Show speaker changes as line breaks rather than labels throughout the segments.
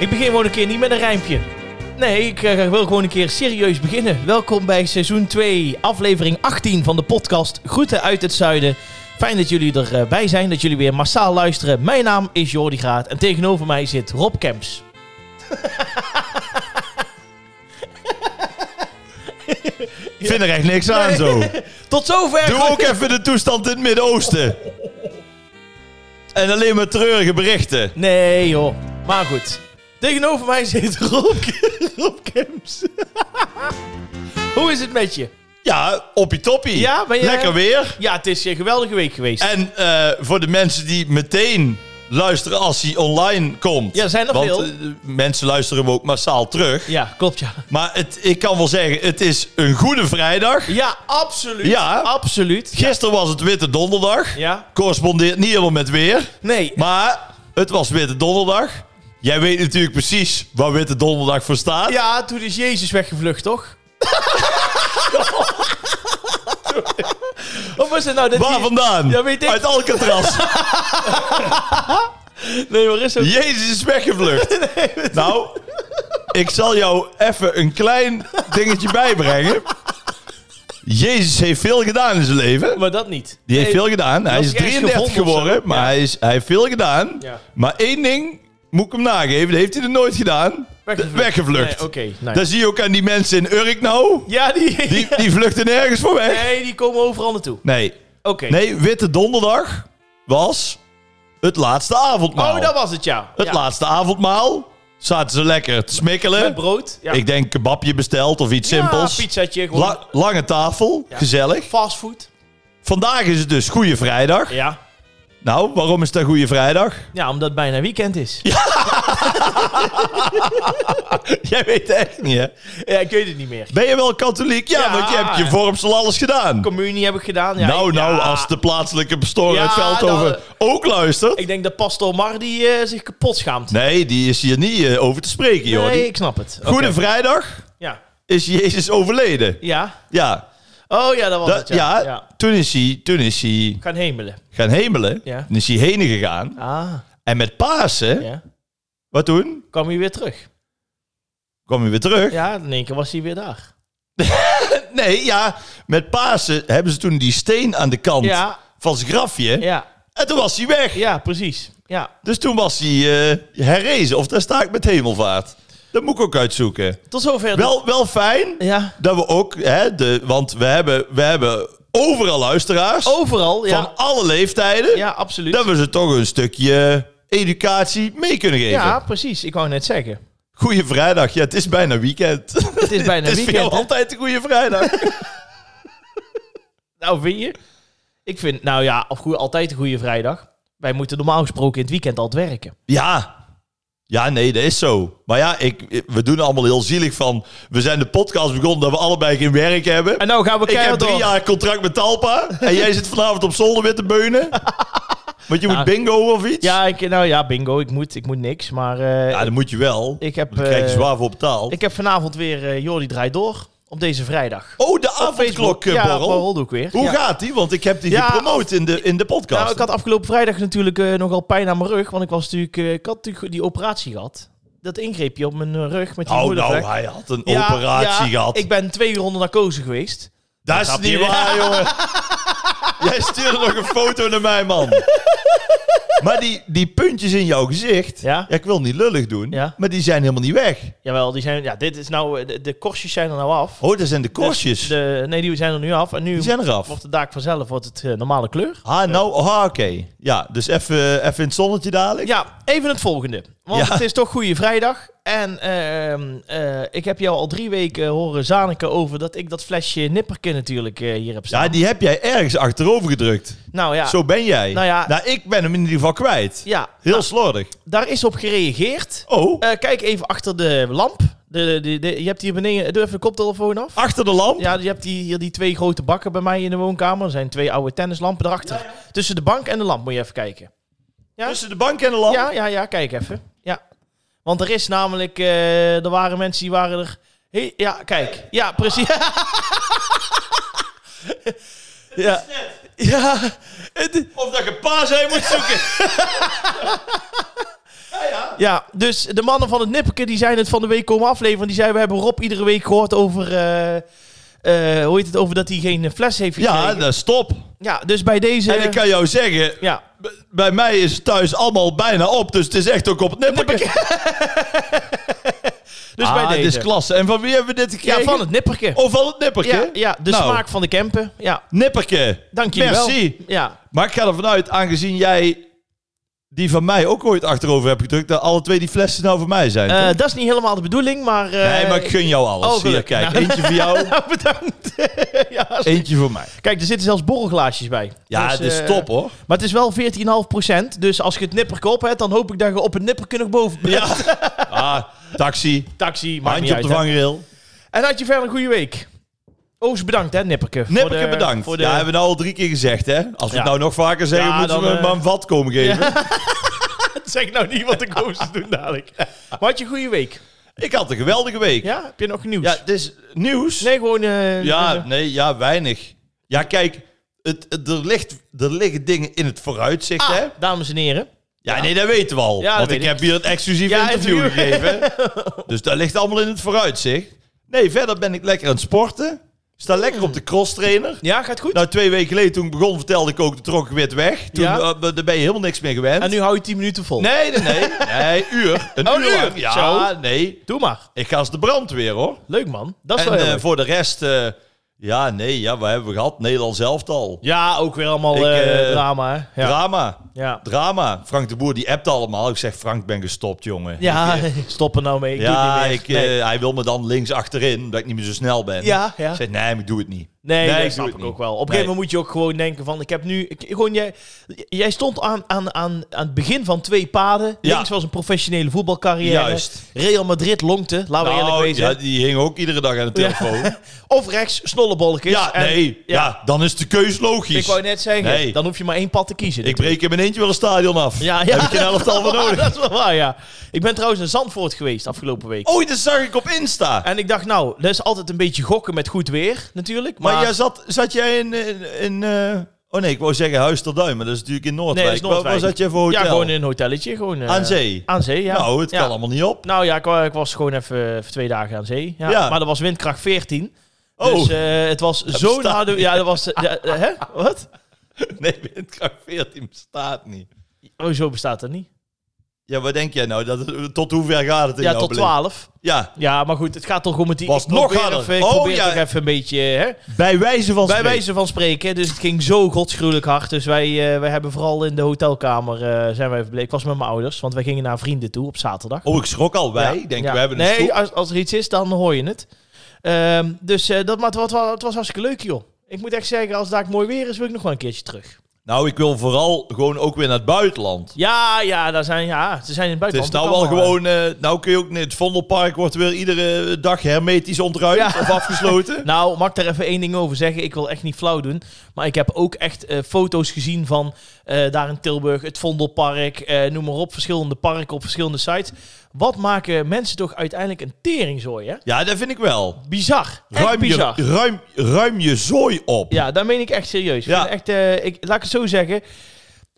Ik begin gewoon een keer niet met een rijmpje. Nee, ik eh, wil gewoon een keer serieus beginnen. Welkom bij seizoen 2, aflevering 18 van de podcast Groeten uit het Zuiden. Fijn dat jullie erbij zijn, dat jullie weer massaal luisteren. Mijn naam is Jordi Graat en tegenover mij zit Rob Kemps.
Ik vind er echt niks aan zo.
Tot zover!
Doe ook even de toestand in het Midden-Oosten. En alleen maar treurige berichten.
Nee joh, maar goed. Tegenover mij zit Rob, Rob Kemps. Hoe is het met je?
Ja, oppie toppie.
Ja, ben je-
Lekker weer.
Ja, het is een geweldige week geweest.
En eh, voor de mensen die meteen luisteren als hij online komt.
Ja, er zijn er
Want,
veel.
eh, mensen luisteren hem ook massaal terug.
Ja, klopt ja.
Maar het, ik kan wel zeggen, het is een goede vrijdag.
Ja, absoluut.
Ja.
Absoluut.
Gisteren was het Witte Donderdag.
Ja.
Correspondeert niet helemaal met weer.
Nee.
Maar het was Witte Donderdag. Jij weet natuurlijk precies waar Witte Donderdag voor staat.
Ja, toen is Jezus weggevlucht, toch? Wat was het nou? Dat
Waar
die-
vandaan?
Ja, weet ik.
Uit Alcatraz.
Nee, waar is het?
Jezus is weggevlucht. nou, ik zal jou even een klein dingetje bijbrengen. Jezus heeft veel gedaan in zijn leven.
Maar dat niet.
Die heeft
Nee,
veel gedaan. Hij
was
is
hij ergens
33
gevonden of zo?
geworden, maar
Ja.
hij, is, hij heeft veel gedaan.
Ja.
Maar één ding moet ik hem nageven, dat heeft hij er nooit gedaan.
Weggevlucht.
Weggevlucht.
Nee, Oké. nee.
Dat zie je ook aan die mensen in Urk nou.
Ja, die...
Die, die vluchten nergens voor weg.
Nee, die komen overal naartoe.
Nee.
Oké.
Nee, Witte Donderdag was het laatste avondmaal.
Oh, dat was het, ja.
Nou. Het
Ja.
laatste avondmaal zaten ze lekker te smikkelen.
Met brood. Ja.
Ik denk kebabje besteld of iets simpels.
Ja, pizzatje, gewoon
La- lange tafel, gezellig.
fastfood.
Vandaag is het dus Goede Vrijdag.
Ja.
Nou, waarom is dat Goede Vrijdag?
ja, omdat het bijna weekend is. Ja.
Jij weet echt niet, hè?
ik weet het niet meer.
Ben je wel katholiek? Ja,
Ja.
want je hebt je vormsel alles gedaan.
Communie heb ik gedaan. Ja,
nou,
ik-
nou,
ja.
als de plaatselijke pastoor
Ja,
uit Veldhoven
dan-
ook luistert.
Ik denk dat pastor Mar die eh, zich kapot schaamt.
Nee, die is hier niet eh, over te spreken, joh. Die-
ik snap het. Oké.
Goede Vrijdag
Ja.
is Jezus overleden.
Ja.
Ja,
Oh ja, dat was
dat,
het.
ja,
Ja. ja.
Toen, is hij, toen is hij
Gaan hemelen.
gaan hemelen.
Ja.
Toen is hij heen gegaan.
Ah.
En met Pasen,
Ja.
wat toen?
Kwam hij weer terug.
Kwam hij weer terug?
Ja, in één keer was hij weer daar.
Nee, ja, met Pasen hebben ze toen die steen aan de kant
Ja.
van zijn grafje.
Ja.
En toen was hij weg.
Ja, precies. Ja.
Dus toen was hij eh, herrezen. Of daar sta ik met hemelvaart. Dat moet ik ook uitzoeken.
Tot zover.
Wel, wel fijn
Ja.
dat we ook, hè, de, want we hebben, we hebben overal luisteraars
Overal. Oh, Ja.
van alle leeftijden.
Ja, absoluut.
Dat we ze toch een stukje educatie mee kunnen geven.
Ja, precies. Ik wou net zeggen.
Goeie vrijdag. Ja, het is bijna weekend.
Het is bijna
het is voor jou
weekend. hè?
altijd een goede vrijdag.
Nou, vind je? Ik vind, nou ja, of goe- altijd een goede vrijdag. Wij moeten normaal gesproken in het weekend altijd werken.
Ja. Ja, nee, dat is zo. Maar ja, ik, ik- we doen er allemaal heel zielig van. We zijn de podcast begonnen dat we allebei geen werk hebben.
En nou gaan we
ik heb
keihard
drie
door.
jaar contract met Talpa. en jij zit vanavond op zolder weer te beunen. Want je moet bingo of iets.
Ja, ik, nou ja, bingo. Ik moet, ik moet niks. Maar eh,
Ja, dat moet je wel.
ik heb...
Dan krijg je
eh,
zwaar voor betaald.
Ik heb vanavond weer eh Jordi draait door op deze vrijdag.
oh, de
Op Facebook. Ja,
avondklokborrel.
doe ik weer.
Hoe
Ja.
gaat die? Want ik heb die
Ja,
gepromoot in de, in de podcast.
Nou, ik had afgelopen vrijdag natuurlijk eh, nogal pijn aan mijn rug, want ik was natuurlijk, eh, ik had natuurlijk die operatie gehad. Dat ingreepje op mijn eh, rug met die
Oh,
moedervlek.
nou, hij had een
Ja,
operatie
ja,
gehad.
Ik ben twee uur onder narcose geweest.
Dat is
Grapje.
niet waar, jongen. Jij stuurde nog een foto naar mij, man. Maar die, die puntjes in jouw gezicht,
Ja.
ik wil niet lullig doen,
Ja.
maar die zijn helemaal niet weg.
Jawel, die zijn, ja, dit is nou, eh, de, de korstjes zijn er nou af.
Oh, dat zijn de korstjes.
Dus de, nee, die zijn er nu af. En nu
die zijn eraf.
wordt de daak vanzelf wordt het eh, normale kleur.
Ah, nou, ah, oké. Ja, dus even even in het zonnetje dadelijk.
Ja, even het volgende. Want
Ja.
het is toch Goede Vrijdag. En ehm, eh, ik heb jou al drie weken eh, horen zaniken over dat ik dat flesje nipperken natuurlijk eh, hier heb staan.
Ja, die heb jij ergens achterover gedrukt.
Nou ja,
Zo ben jij.
Nou ja.
ik ben hem in ieder geval kwijt.
ja
Heel
nou,
slordig.
daar is op gereageerd.
Oh,
Eh, kijk even achter de lamp. De, de, de- je hebt hier beneden... Doe even de koptelefoon af.
achter de lamp.
Ja, je hebt die, hier die twee grote bakken bij mij in de woonkamer. Er zijn twee oude tennislampen erachter. Tussen de bank en de lamp moet je even kijken. ja.
Tussen de bank en de lamp.
Ja, ja, ja, kijk even. Ja. Want er is namelijk, eh, er waren mensen die waren er. Hé, ja, kijk. Ja, precies. ja. Ja, het-
Of dat je paas heen moet zoeken. ja, ja.
Ja, dus de mannen van het Nippeke die zijn het van de week komen afleveren. Die zeiden, we hebben Rob iedere week gehoord over... eh, eh, hoe heet het? Over dat hij geen fles heeft gekregen.
Ja, dat is top.
Ja, dus bij deze...
En ik kan jou zeggen,
Ja,
b- bij mij is het thuis allemaal bijna op. Dus het is echt ook op het nippertje.
dus
ah,
bij
dit is
deze.
klasse. En van wie hebben we dit gekregen?
ja, van het Nipperke.
Oh, van het nippertje?
ja, ja, de
Nou,
smaak van de Kempen. Ja,
Nippertje.
dank jullie
Merci.
wel. Ja,
Maar ik ga ervan uit, aangezien jij die van mij ook ooit achterover hebt gedrukt, dat alle twee die flessen nou voor mij zijn.
Eh,
toch?
dat is niet helemaal de bedoeling, maar... eh,
nee, maar ik gun jou alles.
oh,
Hier,
gelukkig.
kijk.
Nou.
Eentje voor jou,
Nou, bedankt. ja, als-
eentje voor mij.
Kijk, er zitten zelfs borrelglaasjes bij.
Ja,
Dus,
het is
eh,
top hoor.
Maar het is wel 14,5%. Dus als je het nipperke op hebt, dan hoop ik dat je op het nipperke nog boven bent.
Ja. Ah, taxi.
Taxi, maakt niet
Handje op
uit.
de
hè.
vangrail.
En had je verder een goede week? Oost bedankt, hè, Nipperke. Voor
Nipperke
de-
bedankt.
Voor de...
Ja, hebben we nou al drie keer gezegd, hè? Als we
Ja.
het nou nog vaker zeggen,
Ja,
moeten
dan,
we hem
eh,
maar een vat komen geven.
Zeg nou niet wat de coaches doen dadelijk. Maar had je een goede week?
Ik had een geweldige week. Ja,
Ja? Heb je nog nieuws?
het is nieuws.
Nee, gewoon... eh,
Ja,
eh,
nee, ja, weinig. Ja, kijk, het, het- er, ligt, er liggen dingen in het vooruitzicht,
Ah,
hè?
dames en heren.
Ja, nee, dat weten we al.
Ja, dat
want
weet
ik heb hier het exclusief
Ja,
interview
interview.
gegeven. Dus dat ligt allemaal in het vooruitzicht. Nee, verder ben ik lekker aan het sporten. Sta lekker op de cross trainer.
Ja, gaat goed?
Nou, twee weken geleden toen ik begon vertelde ik ook, de trok ik weer weg. Toen
Ja.
eh, daar ben je helemaal niks meer gewend.
en nu hou je 10 minuten vol.
Nee, nee, nee. Nee, uur. Een
Oh,
uur.
een
lang.
uur.
Ja,
Zo.
nee.
Doe maar.
Ik ga als de brandweer, hoor.
Leuk, man. Dat is
En
wel heel
eh,
leuk.
voor de rest, eh, ja, nee, ja, wat hebben we gehad? Nederlands elftal.
Ja, ook weer allemaal
Ik,
eh,
eh,
drama, hè? Ja.
Drama,
ja.
drama. Frank de Boer, die appt allemaal. Ik zeg, Frank, ben gestopt, jongen.
Ja,
Ik, eh,
stop er nou mee. Ik doe
ja,
het niet
ik,
meer.
eh,
nee.
hij wil me dan links achterin, dat ik niet meer zo snel ben.
Ja, ja.
Ik zeg, nee, maar ik doe het niet.
Nee,
Nee, ik doe
dat snap
het
ik
niet.
ook wel. Op een
Nee.
gegeven moment moet je ook gewoon denken van... Ik heb nu... ik- gewoon, jij, jij stond aan, aan, aan, aan het begin van twee paden.
Ja.
Links was een professionele voetbalcarrière.
Juist.
Real Madrid lonkte, laten we eerlijk
Nou,
wezen.
ja, die hing ook iedere dag aan de
Ja.
telefoon. Ja,
Of rechts, snollebolletjes. En-
nee. Ja. dan is de keus logisch.
Ik wou net zeggen,
Nee.
dan hoef je maar één pad te kiezen.
Ik breek in mijn eentje wel een stadion af.
Ja, ja.
Heb ik een elftal voor nodig.
dat is wel waar, ja. Ik ben trouwens in Zandvoort geweest afgelopen week.
Oei, dat zag ik op Insta.
En ik dacht, nou, dat is altijd een beetje gokken met goed weer, natuurlijk.
Maar,
Maar,
jij zat, zat jij in... in, in, eh, oh nee, ik wou zeggen Huis ter Duin, maar dat is natuurlijk in Noordwijk.
Nee, dat is
Waar- Waar,
Noordwijk.
zat jij voor hotel?
ja, gewoon in een hotelletje. Gewoon, eh,
Aan zee?
Aan zee, ja.
Nou, het
Ja.
kan allemaal niet op.
Nou ja, ik, wa- ik was gewoon even, even twee dagen aan zee. Ja.
Ja.
Maar dat was windkracht 14.
Oh.
Dus eh, het was zo'n
bestaat
harde... Ja, dat was... ja, eh, hè? Wat?
Nee, windkracht 14 bestaat niet.
Oh, zo bestaat dat niet.
Ja, wat denk jij nou? Dat, tot hoe ver gaat het in
Ja,
jouw
tot
beleving?
12.
Ja,
Ja, maar goed, het gaat toch om het...
Was
ik probeer
nog harder.
even- Ik
Oh,
probeer
ja.
toch even een beetje... Hè?
bij wijze van
Bij
spreken.
wijze van spreken, dus het ging zo godsgruwelijk hard. Dus wij, eh, wij hebben vooral in de hotelkamer eh, zijn wij verbleven. Ik was met mijn ouders, want wij gingen naar vrienden toe op zaterdag.
Oh, ik schrok al. Wij?
Ja,
Ik denk,
ja.
we hebben een
Nee,
stoel.
als, als er iets is, dan hoor je het. Ehm, dus eh, dat, maar het, was, het was hartstikke leuk, joh. Ik moet echt zeggen, als het daar mooi weer is, wil ik nog wel een keertje terug.
Nou, ik wil vooral gewoon ook weer naar het buitenland.
Ja, ja, daar zijn, ja ze zijn in het
Het is
buitenland.
nou
ook
wel
allemaal,
gewoon... eh, nou kun je ook... Het Vondelpark wordt weer iedere dag hermetisch ontruimd
Ja.
of afgesloten.
eh, Nou, mag ik daar even één ding over zeggen? Ik wil echt niet flauw doen. Maar ik heb ook echt eh, foto's gezien van eh, daar in Tilburg, het Vondelpark, eh, noem maar op. Verschillende parken op verschillende sites. Wat maken mensen toch uiteindelijk een teringzooi, hè?
Ja, dat vind ik wel.
Bizar. Echt
Ruim je,
bizar.
ruim, ruim je zooi op.
Ja, daar meen ik echt serieus. Ik
Ja.
vind Echt, eh, ik, laat ik het zo zeggen.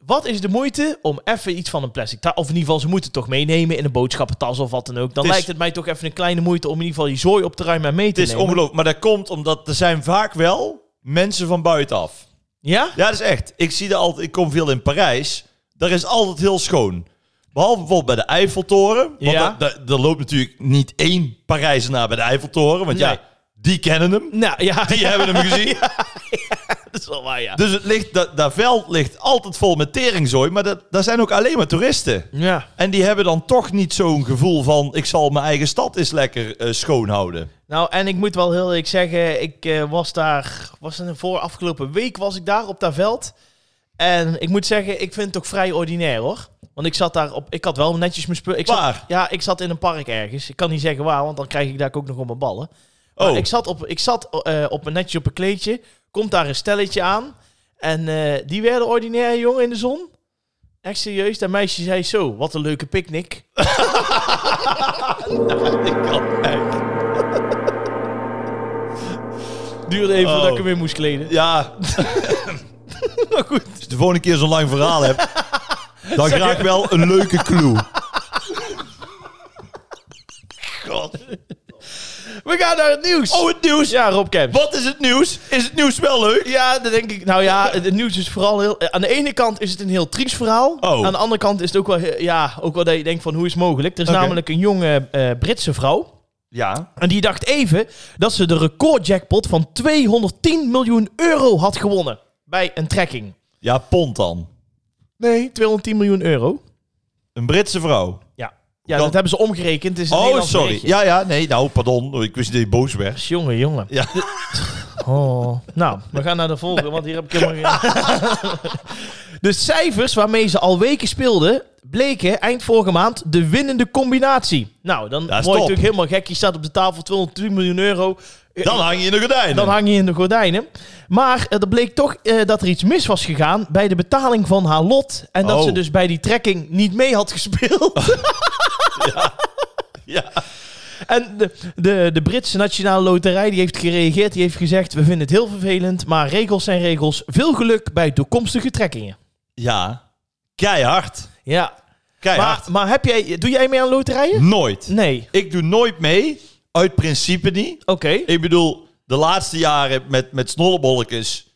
Wat is de moeite om even iets van een plastic ta- Of in ieder geval, ze moeten het toch meenemen in een boodschappentas of wat dan ook. Dan
Het is-
lijkt het mij toch even een kleine moeite om in ieder geval je zooi op te ruimen en mee
Het
te
is
nemen.
ongelooflijk. Maar dat komt omdat er zijn vaak wel mensen van buitenaf.
Ja?
Ja, dat is echt. Ik zie dat altijd. Ik kom veel in Parijs. Daar is altijd heel schoon. Behalve bijvoorbeeld bij de Eiffeltoren. Want
Ja.
daar, daar- daar loopt natuurlijk niet één Parijzenaar bij de Eiffeltoren. Want
Nee.
ja, die kennen hem.
Nou, ja.
Die hebben hem gezien.
dat is wel waar, ja.
Dus het ligt, dat, dat veld ligt altijd vol met teringzooi. Maar dat, daar zijn ook alleen maar toeristen.
Ja.
En die hebben dan toch niet zo'n gevoel van... ik zal mijn eigen stad eens lekker schoon schoonhouden.
Nou, en ik moet wel heel eerlijk zeggen, ik eh, was daar, was in de voor afgelopen week was ik daar op dat veld. En ik moet zeggen, ik vind het ook vrij ordinair hoor. Want ik zat daar op, ik had wel netjes mijn spullen. ik zat-
Waar?
Ja, ik zat in een park ergens. Ik kan niet zeggen waar, want dan krijg ik daar ook nog op mijn ballen.
Oh.
Maar ik zat, op, ik zat eh, op, een- netjes op een kleedje, komt daar een stelletje aan. En eh, die werden ordinair jongen in de zon. Echt serieus, dat meisje zei zo, wat een leuke picknick.
Ik kan echt.
Duurde even
Oh.
dat ik hem weer moest kleden.
Ja,
Maar goed.
als je de volgende keer zo'n lang verhaal hebt... dan graag wel een leuke clue.
We gaan naar het nieuws.
Oh, het nieuws.
Ja, Rob Kemps.
Wat is het nieuws? Is het nieuws wel leuk?
Ja, dat denk ik. Nou ja, het nieuws is vooral heel. eh, Aan de ene kant is het een heel triest verhaal.
Oh.
Aan de andere kant is het ook wel, eh, ja, ook wel dat je denkt van hoe is het mogelijk. Er is
Oké.
namelijk een jonge eh, Britse vrouw.
Ja.
En die dacht even dat ze de recordjackpot van 210 miljoen euro had gewonnen. Bij een trekking.
Ja, pond dan.
Nee, 210 miljoen euro.
Een Britse vrouw.
Ja, ja
Dan-
dat hebben ze omgerekend. Het is een
Oh,
Nederlands
sorry.
berichtje.
Ja, ja, nee, nou, pardon. Ik wist dat je boos werd.
Jongen, jongen.
Ja.
Oh. Nou, we gaan naar de volgende, want hier heb ik helemaal geen... De cijfers waarmee ze al weken speelden, bleken eind vorige maand de winnende combinatie. Nou, dan
Dat
word je
is top.
natuurlijk helemaal gek. Je staat op de tafel, 210 miljoen euro. Eh,
Dan hang je in de gordijnen.
dan hang je in de gordijnen. Maar eh, er bleek toch eh, dat er iets mis was gegaan bij de betaling van haar lot. En dat
Oh.
ze dus bij die trekking niet mee had gespeeld.
Ja.
En de, de, de Britse Nationale Loterij die heeft gereageerd. Die heeft gezegd: We vinden het heel vervelend, maar regels zijn regels. Veel geluk bij toekomstige trekkingen.
ja. Keihard.
Ja. Maar,
Keihard.
maar heb jij, doe jij mee aan loterijen?
Nooit.
Nee.
Ik doe nooit mee. Uit principe niet.
Oké.
Ik bedoel, de laatste jaren met, met snollebolletjes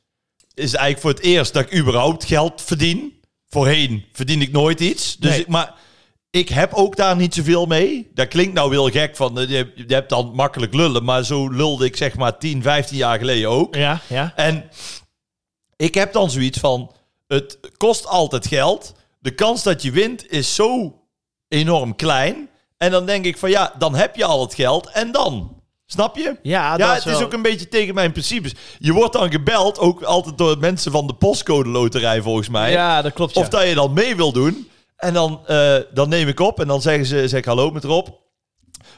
is eigenlijk voor het eerst dat ik überhaupt geld verdien. Voorheen verdien ik nooit iets. Dus
Nee.
ik, maar ik heb ook daar niet zoveel mee. Dat klinkt nou heel gek, van eh, je, je hebt dan makkelijk lullen. Maar zo lulde ik zeg maar 10, 15 jaar geleden ook.
Ja, ja.
En ik heb dan zoiets van, het kost altijd geld. De kans dat je wint is zo enorm klein. En dan denk ik van ja, dan heb je al het geld en dan. Snap je?
Ja,
ja,
Ah, dat
het
wel-
is ook een beetje tegen mijn principes. Je wordt dan gebeld, ook altijd door mensen van de postcode loterij volgens mij.
Ja, dat klopt. Ja.
Of dat je dan mee wil doen. En dan, eh, dan neem ik op en dan zeggen ze, zeg ik hallo met Rob.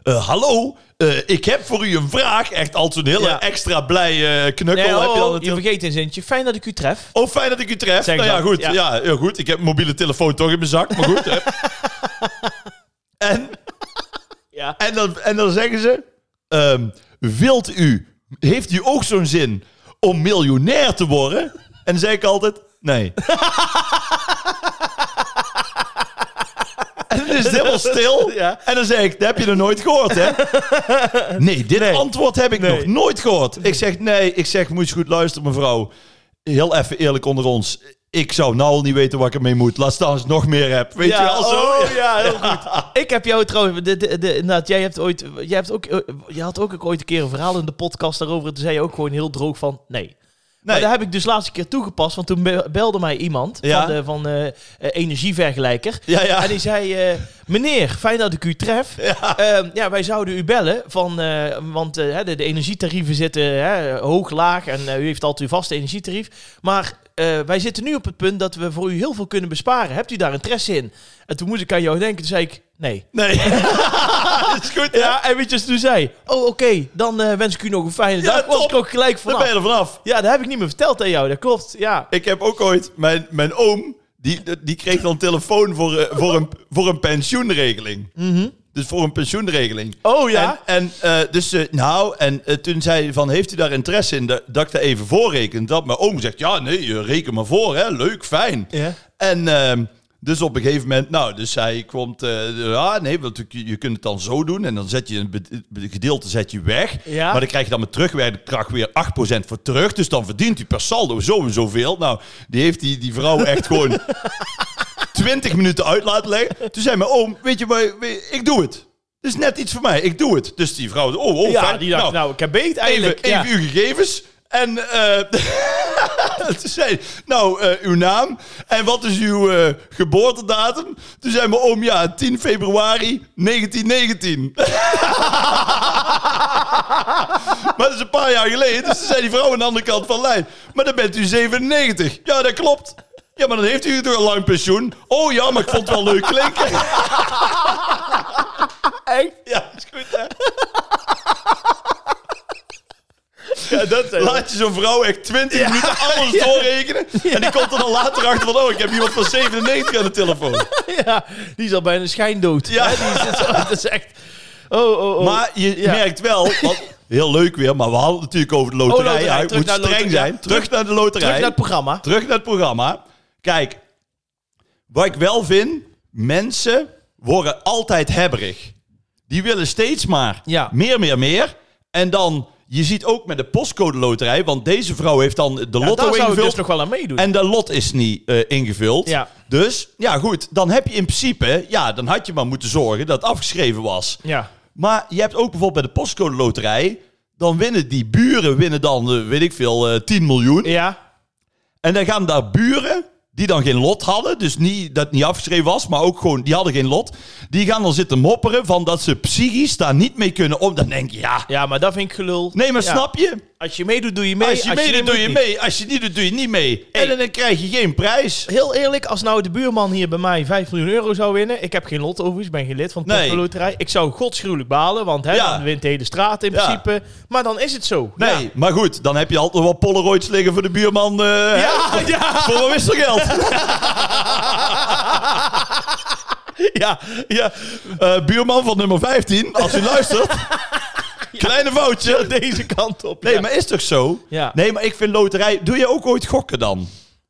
Eh, hallo, eh, ik heb voor u een vraag. Echt al zo'n hele
Ja.
extra blij eh knukkel.
Nee, oh,
heb je dan
oh, je
natuurlijk.
vergeet een zintje. Fijn dat ik u tref.
Oh, fijn dat ik u tref.
Zeg
nou ja,
dat,
goed.
ja.
Ja. heel goed. Ik heb mijn mobiele telefoon toch in mijn zak, maar goed. hè. en,
Ja.
en, dan, en dan zeggen ze... ehm, wilt u... Heeft u ook zo'n zin om miljonair te worden? En dan zeg ik altijd... Nee. En dan is het helemaal stil.
Ja.
En dan zeg ik, dat heb je nog nooit gehoord, hè? Nee, dit antwoord heb ik
Nee.
nog nooit gehoord. Ik zeg, nee, ik zeg, moet je goed luisteren, mevrouw. Heel even eerlijk onder ons. Ik zou nou al niet weten wat ik ermee moet. Laat staan als ik nog meer heb. Weet
Ja,
je wel zo?
oh, ja, heel goed. Ik heb jou trouwens, de, de, de, inderdaad, jij hebt ooit, jij hebt ook, eh, je had ook ooit een keer een verhaal in de podcast daarover. Toen zei je ook gewoon heel droog van, nee.
Nee.
Maar daar heb ik dus laatste keer toegepast, want toen be- belde mij iemand
Ja.
van, de, van eh, eh, Energievergelijker.
Ja, ja.
En die zei, eh, meneer, fijn dat ik u tref.
Ja.
Ehm, ja, wij zouden u bellen, van, eh, want eh, hè, de, de energietarieven zitten hè, hoog, laag en eh, u heeft altijd uw vaste energietarief. Maar eh, wij zitten nu op het punt dat we voor u heel veel kunnen besparen. Hebt u daar interesse in? En toen moest ik aan jou denken, toen zei ik, nee.
Nee. is goed, hè?
Ja, en weet je wat ze toen zei? Oh, oké, dan eh, wens ik u nog een fijne
Ja,
dag. Was
top.
ik ook gelijk
Daar ben
vanaf.
je er vanaf.
Ja, dat heb ik niet meer verteld aan jou, dat klopt, ja.
Ik heb ook ooit... Mijn, mijn oom, die, die kreeg dan telefoon voor, eh, voor, een, voor een pensioenregeling. Dus voor een pensioenregeling.
Oh Mhm. ja?
En, en eh, dus, eh, nou, en eh, toen zei hij van, heeft u daar interesse in? Dat, dat ik daar even voorreken. Dat mijn oom zegt, ja, nee, eh, reken maar voor, hè. Leuk, fijn.
Ja.
En ehm, dus op een gegeven moment, nou, dus hij komt, eh, ja, nee, want je- je kunt het dan zo doen. En dan zet je een be- be- gedeelte zet je weg.
Ja.
Maar dan krijg je dan met terugwerkende kracht weer 8% voor terug. Dus dan verdient u per saldo zo en zoveel. Nou, die heeft die, die vrouw echt gewoon 20 minuten uit laten leggen. Toen zei mijn oom, weet je, maar, weet- ik doe het. Het is net iets voor mij, ik doe het. Dus die vrouw, oh, oh,
Ja,
fijn.
die dacht, nou, ik heb beet
even,
eigenlijk.
even uw gegevens. En eh toen zei nou, eh, uw naam en wat is uw eh, geboortedatum? Toen zei mijn oom, ja, 10 februari 1919. maar dat is een paar jaar geleden, dus toen zei die vrouw aan de andere kant van de lijn. Maar dan bent u 97. Ja, dat klopt. Ja, maar dan heeft u toch al lang pensioen? Oh ja, maar ik vond het wel leuk klinken.
ja. Echt?
Ja, is goed hè?
Ja, dat zijn
Laat je zo'n vrouw echt 20 minuten alles doorrekenen. En die komt er dan later achter van, oh, ik heb iemand van 97 aan de telefoon.
Ja, die is al bijna schijndood. Ja.
Ja.
Die is, dat is echt... Oh, oh, oh.
Maar je
Ja.
merkt wel, want, heel leuk weer, maar we hadden het natuurlijk over de loterij.
Oh, loterij.
Ja, het
Terug
moet
naar de
streng
loterij.
zijn. Terug naar de loterij.
Terug naar het programma.
Terug naar het programma. Kijk, wat ik wel vind, mensen worden altijd hebberig. Die willen steeds maar
Ja.
meer, meer, meer. En dan, je ziet ook met de postcode loterij, want deze vrouw heeft dan de
Ja,
lotto
daar zou ik
ingevuld.
dus nog wel aan meedoen.
En de lot is niet eh, ingevuld.
Ja.
Dus, ja goed, dan heb je in principe, ja, dan had je maar moeten zorgen dat het afgeschreven was.
ja.
Maar je hebt ook bijvoorbeeld bij de postcode loterij, dan winnen die buren, winnen dan, eh, weet ik veel, eh 10 miljoen.
ja.
En dan gaan daar buren, die dan geen lot hadden, dus niet, dat niet afgeschreven was, maar ook gewoon, die hadden geen lot. Die gaan dan zitten mopperen van dat ze psychisch daar niet mee kunnen om. Dan denk je, ja,
Ja, maar dat vind ik gelul.
nee, maar
Ja.
snap je?
Als je meedoet, doe je mee.
als je mee
niet
doet, doe je
niet.
mee. Als je niet doet, doe je niet mee.
Hey.
En dan krijg je geen prijs.
Heel eerlijk, als nou de buurman hier bij mij 5 miljoen euro zou winnen. Ik heb geen lot overigens, ben geen lid van de
Nee.
Postcode Loterij. Ik zou godsgruwelijk balen, want hè,
Ja.
dan wint de hele straat in
Ja.
principe. Maar dan is het zo.
Nee,
Ja.
maar goed, dan heb je altijd wel Polaroids liggen voor de buurman. eh, hè,
Ja,
voor-
ja,
Voor wat wisselgeld.
ja.
ja. Eh, buurman van nummer 15, als u luistert. Kleine foutje.
Deze kant op.
Nee,
ja.
maar is toch zo?
Ja.
Nee, maar ik vind loterij... Doe je ook ooit gokken dan?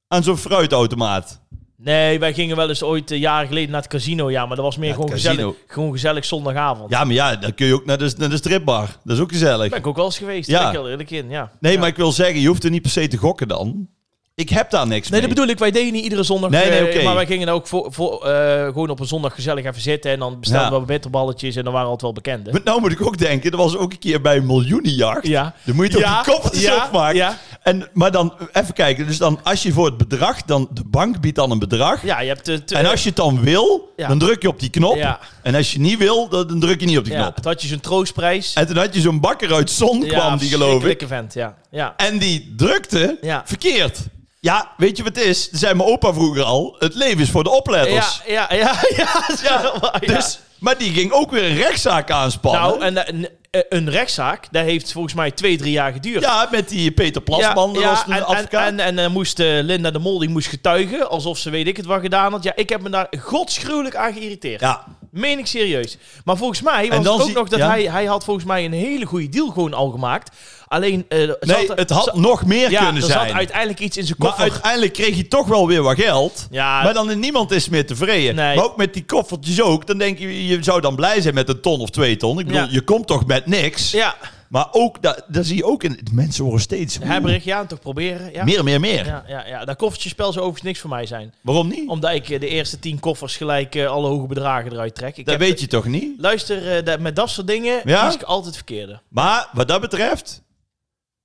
Aan zo'n fruitautomaat?
Nee, wij gingen wel eens ooit eh, jaren geleden naar het casino. Ja, maar dat was meer
het
gewoon,
casino.
gezellig, gewoon gezellig zondagavond.
Ja, maar ja, dan kun je ook naar de, naar de stripbar. Dat is ook gezellig.
Ben ik ook wel eens geweest.
Ja.
Ja. Ben ik heel eerlijk in, ja.
Nee, maar ik wil zeggen, je hoeft er niet per se te gokken dan. Ik heb daar niks
Nee, dat
mee.
bedoel ik. Wij deden niet iedere zondag.
Nee, nee,
eh,
oké.
Maar wij gingen ook voor, voor, eh, gewoon op een zondag gezellig even zitten. En dan bestelden
Ja.
we bitterballetjes. En dan waren we altijd wel bekenden.
Maar nou moet ik ook denken, er was ook een keer bij een miljoenenjacht.
Ja.
Dan moet je toch
Ja,
die koffertjes
ja,
opmaken.
ja.
En, maar dan, even kijken. Dus dan, als je voor het bedrag, dan, de bank biedt dan een bedrag.
Ja, je hebt... eh, het.
En als je het dan wil,
Ja.
dan druk je op die knop.
Ja.
En als je niet wil, dan, dan druk je niet op die
ja,
knop.
toen had je zo'n troostprijs.
En toen had je zo'n bakker uit zon kwam, die geloof ik.
verschrikkelijke vent, ja. ja.
En die drukte
Ja.
verkeerd. Ja, weet je wat het is? Dat zei mijn opa vroeger al. Het leven is voor de
Ja,
opletters.
ja, ja, ja, dat is wel waar, ja.
Dus, Oh. maar die ging ook weer een rechtszaak aanspannen.
Nou, en eh, een, eh, een rechtszaak, dat heeft volgens mij twee, drie jaar geduurd.
ja, met die Peter Plasman, dat was toen
en,
de advocaat.
En, en, en, eh, moest eh, Linda de Mol die moest getuigen, alsof ze weet ik het wat gedaan had. Ja, ik heb me daar godsgruwelijk aan geïrriteerd.
ja,
Meen ik serieus. Maar volgens mij was
En
het
dan
ook
zie-
nog dat
ja.
hij, hij had volgens mij een hele goede deal gewoon al gemaakt. Alleen, eh,
nee,
zat er-
het had
zat-
nog meer
ja,
kunnen
er
zijn.
zat uiteindelijk iets in zijn
maar
koffer.
uiteindelijk kreeg hij toch wel weer wat geld.
Ja.
Maar dan niemand is meer tevreden.
Nee.
Maar ook met die koffertjes ook. Dan denk je, je zou dan blij zijn met een ton of twee ton. Ik bedoel,
Ja.
je komt toch met niks.
ja,
Maar ook, dat, daar zie je ook in... de Mensen worden steeds...
hebberig, ja, en toch proberen. Ja.
Meer, meer, meer.
Ja, ja, ja, dat koffertjespel zou overigens niks voor mij zijn.
Waarom niet?
Omdat ik eh, de eerste tien koffers gelijk eh, alle hoge bedragen eruit trek. Ik
Dat
heb-
weet je toch niet?
Luister, eh, dat- met dat soort dingen
Ja?
kies ik altijd verkeerde.
Maar wat dat betreft,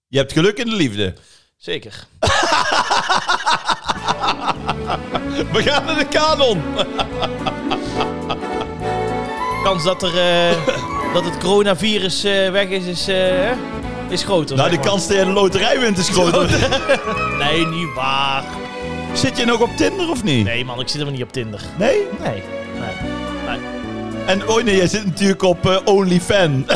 je hebt geluk in de liefde.
Zeker.
We gaan naar de kanon.
Kans dat, er, eh, dat het coronavirus eh, weg is, is, eh, hè, is groter.
Nou, de
zeg maar.
kans dat je de loterij wint is groter.
Nee, niet waar.
Zit je nog op Tinder of niet?
Nee, man, ik zit helemaal niet op Tinder.
Nee?
Nee. nee. nee.
En oh nee, jij zit natuurlijk op eh, OnlyFan.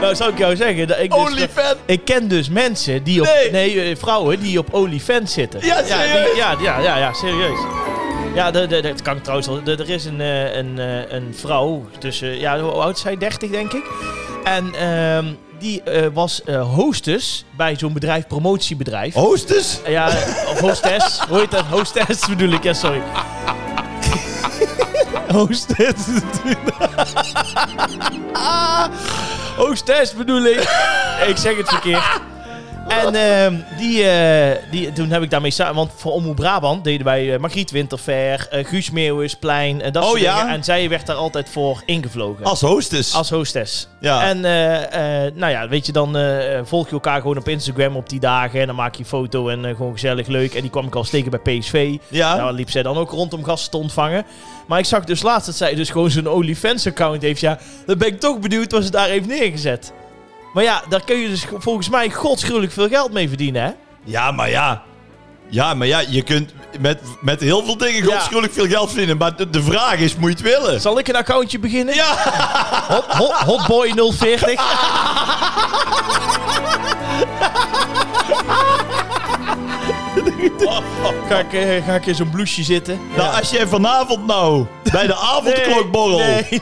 Nou, zou ik jou zeggen. Dat ik, dus-
OnlyFan?
ik ken dus mensen die op.
Nee.
Nee, eh, vrouwen die op OnlyFans zitten.
Ja,
Ja,
serieus?
die- ja, ja, ja, ja, serieus. Ja, de- de- dat kan ik trouwens al. De- Er is een, eh, een, eh, een vrouw tussen, ja, hoe oud is zij? 30 denk ik. En ehm, die eh, was eh hostess bij zo'n bedrijf, promotiebedrijf.
Hostess?
Ja, of hostess. Hoe heet dat? Hostess bedoel ik, ja, sorry. hostess. hostess bedoel ik. Ik zeg het verkeerd. En ehm, die, eh, die, toen heb ik daarmee samen... Want voor Omroep Brabant deden wij eh Margriet Winterfer, eh, Guus Meeuwisplein en dat
Oh,
soort
ja?
dingen. En zij werd daar altijd voor ingevlogen.
Als hostess.
Als hostess.
Ja.
En eh, eh, nou ja, weet je, dan eh, eh, volg je elkaar gewoon op Instagram op die dagen. En dan maak je een foto en eh, gewoon gezellig leuk. En die kwam ik al steken bij PSV.
Ja.
Nou, liep zij dan ook rond om gasten te ontvangen. Maar ik zag dus laatst dat zij dus gewoon zo'n OnlyFans-account heeft. Ja, dan ben ik toch benieuwd wat ze daar heeft neergezet. Maar ja, daar kun je dus go- volgens mij godsgruwelijk veel geld mee verdienen, hè?
Ja, maar ja. Ja, maar ja, je kunt met, met heel veel dingen godschuwelijk veel geld verdienen. Maar de, de vraag is, moet je het willen?
Zal ik een accountje beginnen?
Ja,
Hot, hot, Hotboy 040. Ga ik, eh, ga ik in zo'n blouseje zitten?
Nou, als jij vanavond nou bij de avondklokborrel
Nee, nee.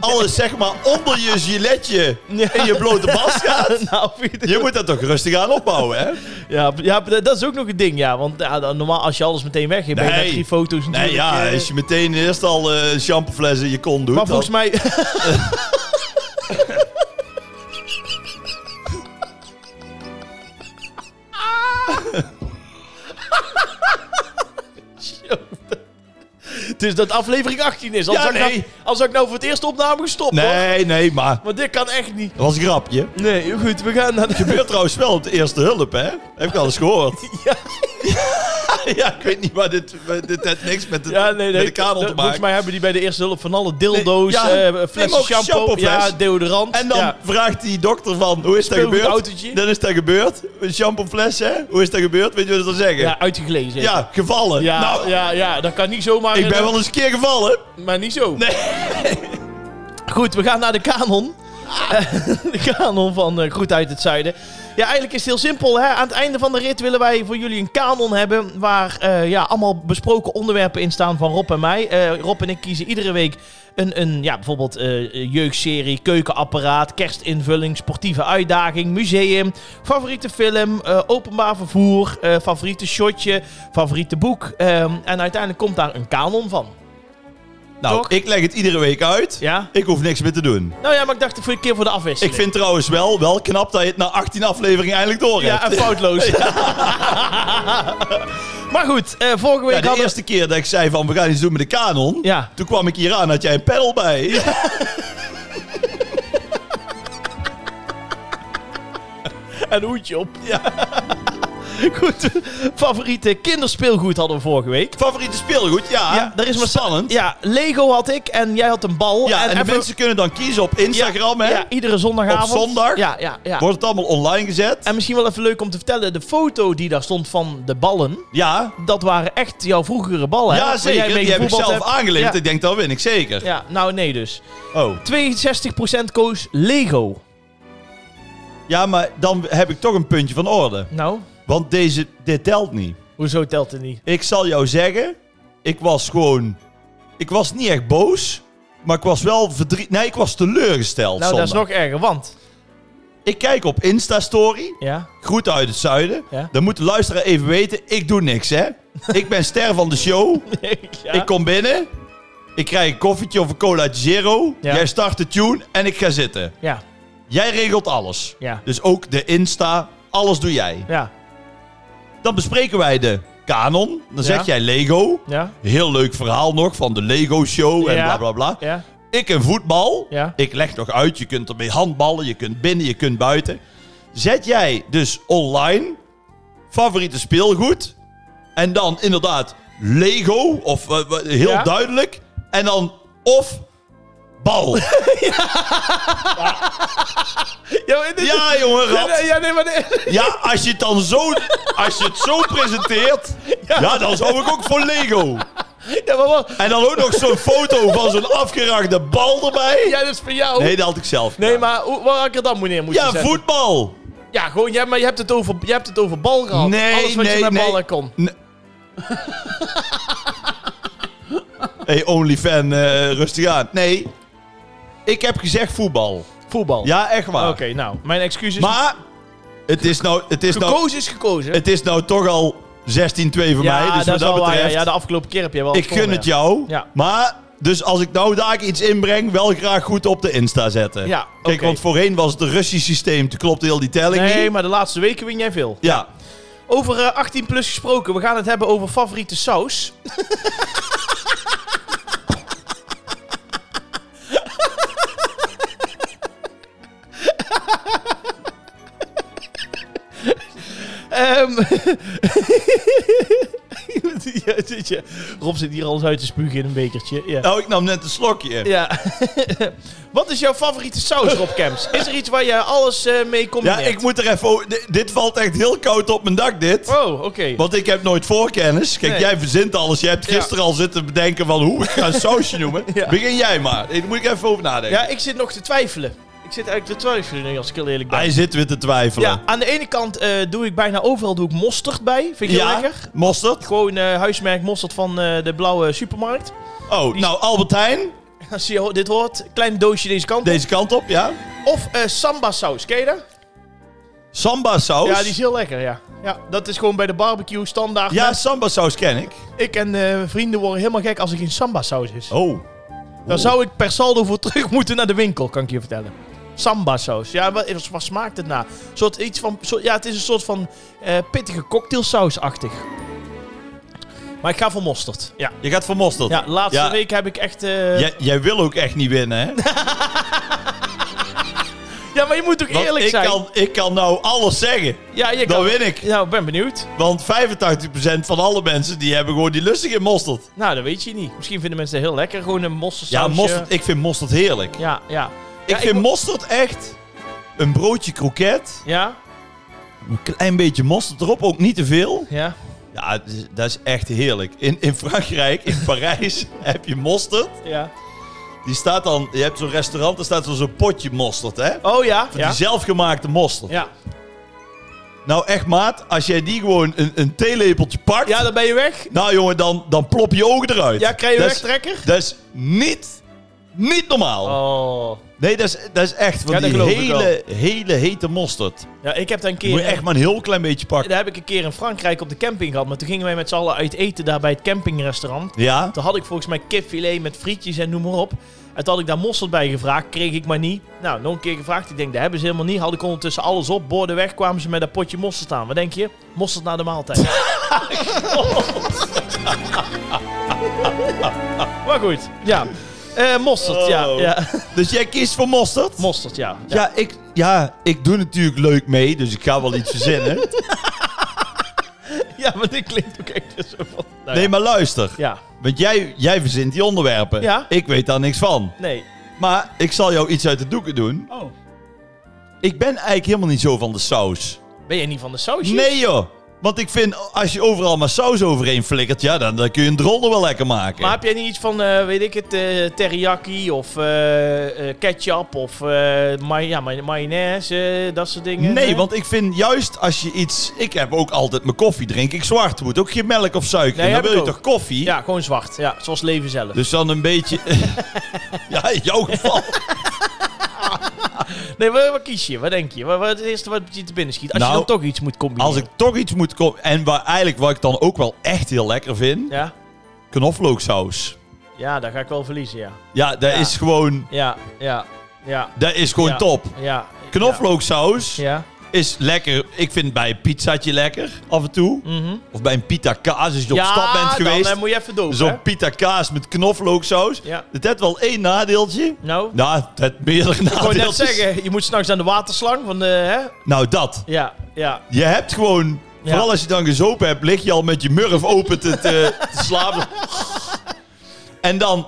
alles zeg maar onder je giletje in je blote bas gaat.
nou, Pieter.
Je moet dat toch rustig aan opbouwen, hè?
Ja, p- ja, p- dat is ook nog een ding, ja. Want ja, dan- normaal, als je alles meteen weggeeft, ben je
Nee.
met drie foto's
Nee,
natuurlijk.
ja,
eh,
als je meteen eerst al eh shampoofles in je kont doet...
Maar
dan-
volgens mij... Dus dat aflevering 18 is. Als,
Ja,
ik, nou,
nee.
als ik nou voor het eerst de opname gestopt hoor.
Nee, nee, maar
Want dit kan echt niet.
dat was een grapje.
Nee, goed, we gaan naar de...
Gebeurt trouwens wel op de eerste hulp, hè? Heb ik al eens gehoord.
Ja.
ja, ik weet niet, maar dit, maar dit heeft niks met de,
Ja, nee, nee.
met de kabel te
Volgens
maken.
mij hebben die bij de eerste hulp van alle dildo's,
Nee, ja.
eh,
Neem
flessen
ook
shampoo,
shampoofles.
ja, deodorant.
En dan
ja.
vraagt die dokter van, hoe is dat
Speelgoed
gebeurd?
autootje.
Dan is dat gebeurd. Een shampoofles, hè? Hoe is dat gebeurd? Weet je wat ze dan zeggen?
Ja, uitgelezen.
Ja, gevallen.
Ja,
nou,
ja, ja, dat kan niet zomaar.
ik ben wel eens een keer gevallen.
Maar niet zo.
Nee.
Goed, we gaan naar de kanon. de kanon van eh Groet uit het Zuiden. Ja, eigenlijk is het heel simpel. Hè? Aan het einde van de rit willen wij voor jullie een kanon hebben... waar eh, ja, allemaal besproken onderwerpen in staan van Rob en mij. Eh, Rob en ik kiezen iedere week een, een ja, bijvoorbeeld eh, jeugdserie, keukenapparaat... kerstinvulling, sportieve uitdaging, museum, favoriete film... eh, openbaar vervoer, eh, favoriete shotje, favoriete boek. Ehm, en uiteindelijk komt daar een kanon van.
Nou,
Toch?
ik leg het iedere week uit.
Ja?
Ik hoef niks meer te doen.
Nou ja, maar ik dacht voor een keer voor de afwisseling.
Ik vind trouwens wel, wel knap dat je het na 18 afleveringen eindelijk door hebt.
Ja, en foutloos. maar goed, eh, vorige week
Ja, de
hadden...
eerste keer dat ik zei van we gaan iets doen met de kanon,
Ja.
toen kwam ik hier aan, had jij een pedal bij.
Een hoedje op. Ja. goed, favoriete kinderspeelgoed hadden we vorige week.
Favoriete speelgoed, ja.
Ja, er is maar-
spannend. Ja,
Ja, Lego had ik en jij had een bal.
en, de
even-
mensen kunnen dan kiezen op Instagram, hè.
Ja, iedere zondagavond.
Op zondag.
Ja, ja, ja.
Wordt het allemaal online gezet?
En misschien wel even leuk om te vertellen, de foto die daar stond van de ballen,
Ja.
dat waren echt jouw vroegere ballen. hè?
Ja,
Waar
zeker.
jij mee
Die heb ik
gevoetbald
zelf
hebt.
aangelegd.
Ja.
Ik denk, dat win ik zeker.
Ja, nou nee dus.
Oh.
62% koos Lego.
Ja, maar dan heb ik toch een puntje van orde.
Nou,
Want deze, dit telt niet.
hoezo telt het niet?
Ik zal jou zeggen, ik was gewoon... Ik was niet echt boos, maar ik was wel verdriet... Nee, ik was teleurgesteld
Nou, dat is
zondag.
nog erger, want...
Ik kijk op Insta-story,
Ja,
groeten uit het zuiden.
Ja.
Dan moet de luisteraar even weten, ik doe niks, hè. ik ben ster van de show. Ik kom binnen, ik krijg een koffietje of een cola zero.
Ja.
Jij start de tune en ik ga zitten.
Ja,
Jij regelt alles.
ja,
Dus ook de Insta, alles doe jij.
ja,
Dan bespreken wij de kanon. Dan zeg
Ja.
jij Lego.
ja,
Heel leuk verhaal nog van de Lego Show en
Ja.
bla bla bla.
ja,
Ik en voetbal.
Ja.
Ik leg nog uit, je kunt ermee handballen, je kunt binnen, je kunt buiten. Zet jij dus online favoriete speelgoed. En dan inderdaad Lego, of eh, wa- heel
Ja.
duidelijk. En dan of bal.
ja. maar dit-
ja,
Ja,
jongen, rap.
nee, ja, nee, maar... nee.
Ja, als je het dan zo, als je het zo presenteert, ja. dan zou ik ook voor Lego.
Ja, maar wat?
En dan ook nog zo'n foto van zo'n afgeraakte bal erbij.
Ja, dat is voor jou.
Nee, dat had ik zelf.
Nee, maar hoe, waar had ik er dan meneer moeten
Ja,
zetten?
voetbal.
Ja, gewoon, ja, maar je hebt het over, je hebt het over bal gehad.
Nee,
Alles wat je
nee,
met
nee.
ballen kon.
Nee. Hey, OnlyFan, eh, rustig aan. Nee, ik heb gezegd voetbal.
Voetbal.
Ja, echt
Oké,
waar.
nou, mijn excuses.
Maar het is nou, het is nou,
gekozen is gekozen.
het is nou toch al 16-2 voor
ja,
mij. Dus
dat
wat
is
dat
wel waar, ja,
betreft,
ja, de afgelopen keer heb je wel...
ik
gewonnen,
gun het
ja.
jou.
Ja.
Maar, dus als ik nou daar iets inbreng, wel graag goed op de Insta zetten.
Ja,
Kijk,
oké.
want voorheen was het een Russisch systeem. Toen klopte heel die telling
Nee,
niet.
maar de laatste weken win jij veel.
Ja.
Over eh, 18 plus gesproken, we gaan het hebben over favoriete saus. Ehm Ja, zit je- Rob zit hier alles uit te spugen in een bekertje. Ja.
Nou, ik nam net een slokje.
ja. Wat is jouw favoriete saus, Rob Kemps? Is er iets waar je alles eh, mee
Ja,
combineert?
ik moet er even... o- di- Dit valt echt heel koud op mijn dak, dit.
Oh, oké.
Want ik heb nooit voorkennis. Kijk,
Nee.
jij verzint alles. Je hebt
Ja.
gisteren al zitten bedenken van hoe ik ga een sausje noemen.
Ja.
Begin jij maar. Daar moet ik even over nadenken.
Ja, ik zit nog te twijfelen. Ik zit eigenlijk te twijfelen nu, als ik heel eerlijk ben.
Hij zit weer te twijfelen.
Ja, aan de ene kant eh, doe ik bijna overal doe ik mosterd bij. Vind ik heel
Ja,
lekker.
mosterd.
Gewoon eh, huismerk mosterd van eh, de blauwe supermarkt.
Oh, nou Albert Heijn.
als je ho- dit hoort, klein doosje deze kant op.
Deze kant op, ja.
Of eh samba saus, ken je dat?
Samba saus.
Ja, die is heel lekker, ja. ja. Dat is gewoon bij de barbecue standaard.
Ja,
Met-
samba saus ken ik.
Ik en eh, vrienden worden helemaal gek als er geen samba saus is.
Oh.
Dan zou ik per saldo voor terug moeten naar de winkel, kan ik je vertellen. Samba saus. Ja, wat, wat smaakt het na? Een Soort iets van, zo- ja, het is een soort van eh, pittige cocktailsausachtig. Maar ik ga voor mosterd. Ja,
Je gaat voor mosterd.
ja laatste
Ja.
week heb ik echt... eh,
Jij, jij wil ook echt niet winnen, hè?
Ja, maar je moet toch
Want
eerlijk
ik
zijn?
Kan, ik kan nou alles zeggen.
ja, je
Dan
kan...
win ik.
Nou, ik ben benieuwd.
Want 85% van alle mensen die hebben gewoon die lustig in mosterd.
Nou, dat weet je niet. Misschien vinden mensen het heel lekker. Gewoon een
Ja,
mosterdsausje.
mosterd, ik vind mosterd heerlijk.
Ja, ja.
ik
Ja,
vind
mo-
mosterd echt een broodje kroket.
Ja,
Een klein beetje mosterd erop, ook niet te veel.
ja.
Ja, het is- dat is echt heerlijk. In, in Frankrijk, in Parijs, heb je mosterd.
Ja.
Die staat dan, je hebt zo'n restaurant, daar staat zo'n potje mosterd, hè?
Oh ja.
Van
Ja.
die zelfgemaakte mosterd.
ja.
Nou echt maat, als jij die gewoon een, een theelepeltje pakt...
Ja, dan ben je weg.
Nou jongen, dan, dan plop je ogen eruit.
Ja, krijg je
Dat is-
wegtrekker?
Dat is niet, niet normaal.
Oh.
Nee, dat is, dat is echt van
Ja, dat
die
geloof ik
hele, hele hete mosterd.
Ja, ik heb daar een keer...
Moet je echt maar een heel klein beetje pakken.
Daar heb ik een keer in Frankrijk op de camping gehad. Maar toen gingen wij met z'n allen uit eten daar bij het campingrestaurant.
Ja?
Toen had ik volgens mij kipfilet met frietjes en noem maar op. En toen had ik daar mosterd bij gevraagd. Kreeg ik maar niet. Nou, nog een keer gevraagd. Ik denk, dat hebben ze helemaal niet. Had ik ondertussen alles op. Borden weg kwamen ze met dat potje mosterd aan. Wat denk je? Mosterd na de maaltijd. maar goed, ja. Eh, mosterd, ja,
Oh.
ja.
Dus jij kiest voor mosterd?
Mosterd, ja. ja.
Ja, ik, ja, ik doe natuurlijk leuk mee, dus ik ga wel iets verzinnen.
Ja, maar dit klinkt ook echt zo van... Nou,
Nee, maar luister.
Ja,
Want jij, jij verzint die onderwerpen.
Ja.
Ik weet daar niks van.
nee.
Maar ik zal jou iets uit de doeken doen.
Oh.
Ik ben eigenlijk helemaal niet zo van de saus.
Ben jij niet van de sausjes?
Nee joh. Want ik vind, als je overal maar saus overheen flikkert, ja, dan, dan kun je een drolder wel lekker maken.
Maar heb jij niet iets van, eh, weet ik het, eh, teriyaki of eh, eh, ketchup of eh, ma- ja, ma- mayonaise, eh, dat soort dingen?
Nee, want ik vind juist als je iets... Ik heb ook altijd mijn koffie, drink ik zwart. Moet ook geen melk of suiker.
Nee,
in. dan
heb
wil
ik
je
ook.
toch koffie?
Ja, gewoon zwart. Ja, zoals leven zelf.
Dus dan een beetje... ja, in jouw geval.
Nee, wat, wat kies je? Wat denk je? Wat, wat is het eerste wat je te binnen schiet? Als
Nou,
je dan toch iets moet combineren.
Als ik toch iets moet komen... En waar, eigenlijk wat ik dan ook wel echt heel lekker vind...
Ja?
Knoflooksaus.
ja, daar ga ik wel verliezen, ja.
Ja, dat
Ja.
is gewoon...
Ja, ja, ja.
Dat is gewoon
Ja.
top.
Ja.
Knoflooksaus
Ja. ja.
is lekker. Ik vind bij een pizzaatje lekker, af en toe.
Mhm.
Of bij een pita kaas, als je
ja,
op stap bent geweest.
dan eh, moet je even dopen, hè?
Zo'n pita kaas met knoflooksaus.
Ja.
Dat heeft wel één nadeeltje.
Nou,
Nou, het meerdere
ik wou net
nadeeltjes.
zeggen, je moet s'nachts aan de waterslang van de, hè?
Nou, dat.
Ja, ja.
Je hebt gewoon...
Ja.
Vooral als je dan gezopen hebt, lig je al met je murf open te, te, te slapen. En dan...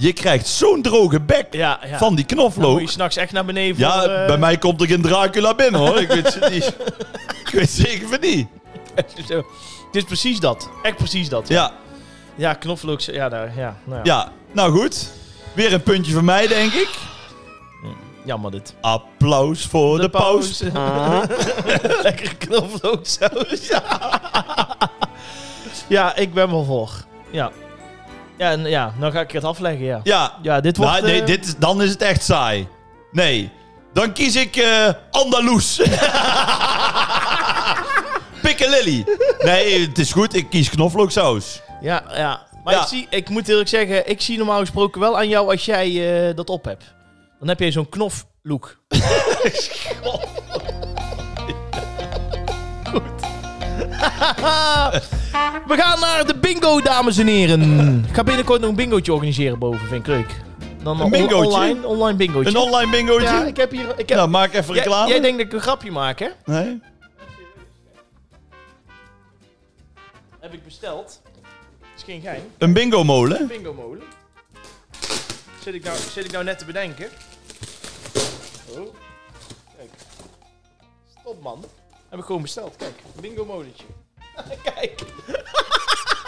Je krijgt zo'n droge bek
Ja, ja.
van die
Dan
knoflook.
moet je s'nachts echt naar beneden voor,
ja,
eh,
bij mij komt er geen Dracula binnen, hoor. Ik weet, het niet. ik weet zeker van niet.
Zo. dus, eh, Het is precies dat. Echt precies dat.
Ja,
Ja, knoflook. Ja, daar, ja, nou ja.
ja. Nou goed. Weer een puntje van mij, denk ik.
Jammer dit.
Applaus voor de, paus.
Lekker knoflooksaus. Ja. ja, ik ben wel voor. Ja. Ja, en, ja, nou ga ik het afleggen, ja.
Ja.
Ja, dit wordt...
Nou, nee,
eh,
dit is, dan is het echt saai. Nee. Dan kies ik eh Andalus. Piccalilli. Nee, het is goed. Ik kies knoflooksaus.
Ja, ja. Maar
Ja.
Ik, zie, ik moet eerlijk zeggen, ik zie normaal gesproken wel aan jou als jij eh, dat op hebt. Dan heb jij zo'n knoflook. Goed. We gaan naar de bingo, dames en heren. Ik ga binnenkort nog een bingootje organiseren boven, vind ik leuk. Dan on-
bingootje?
online, online bingootje.
Een online bingootje?
ja, ik heb hier... Ik heb,
Nou, maak even
Jij-
reclame.
jij denkt dat ik een grapje maak, hè?
Nee?
Heb ik besteld. is geen gein.
Een bingo-molen?
Bingo molen. Zit ik nou, zit ik nou net te bedenken? Oh, kijk. Stop man. Heb ik gewoon besteld. Kijk, bingo molentje. kijk.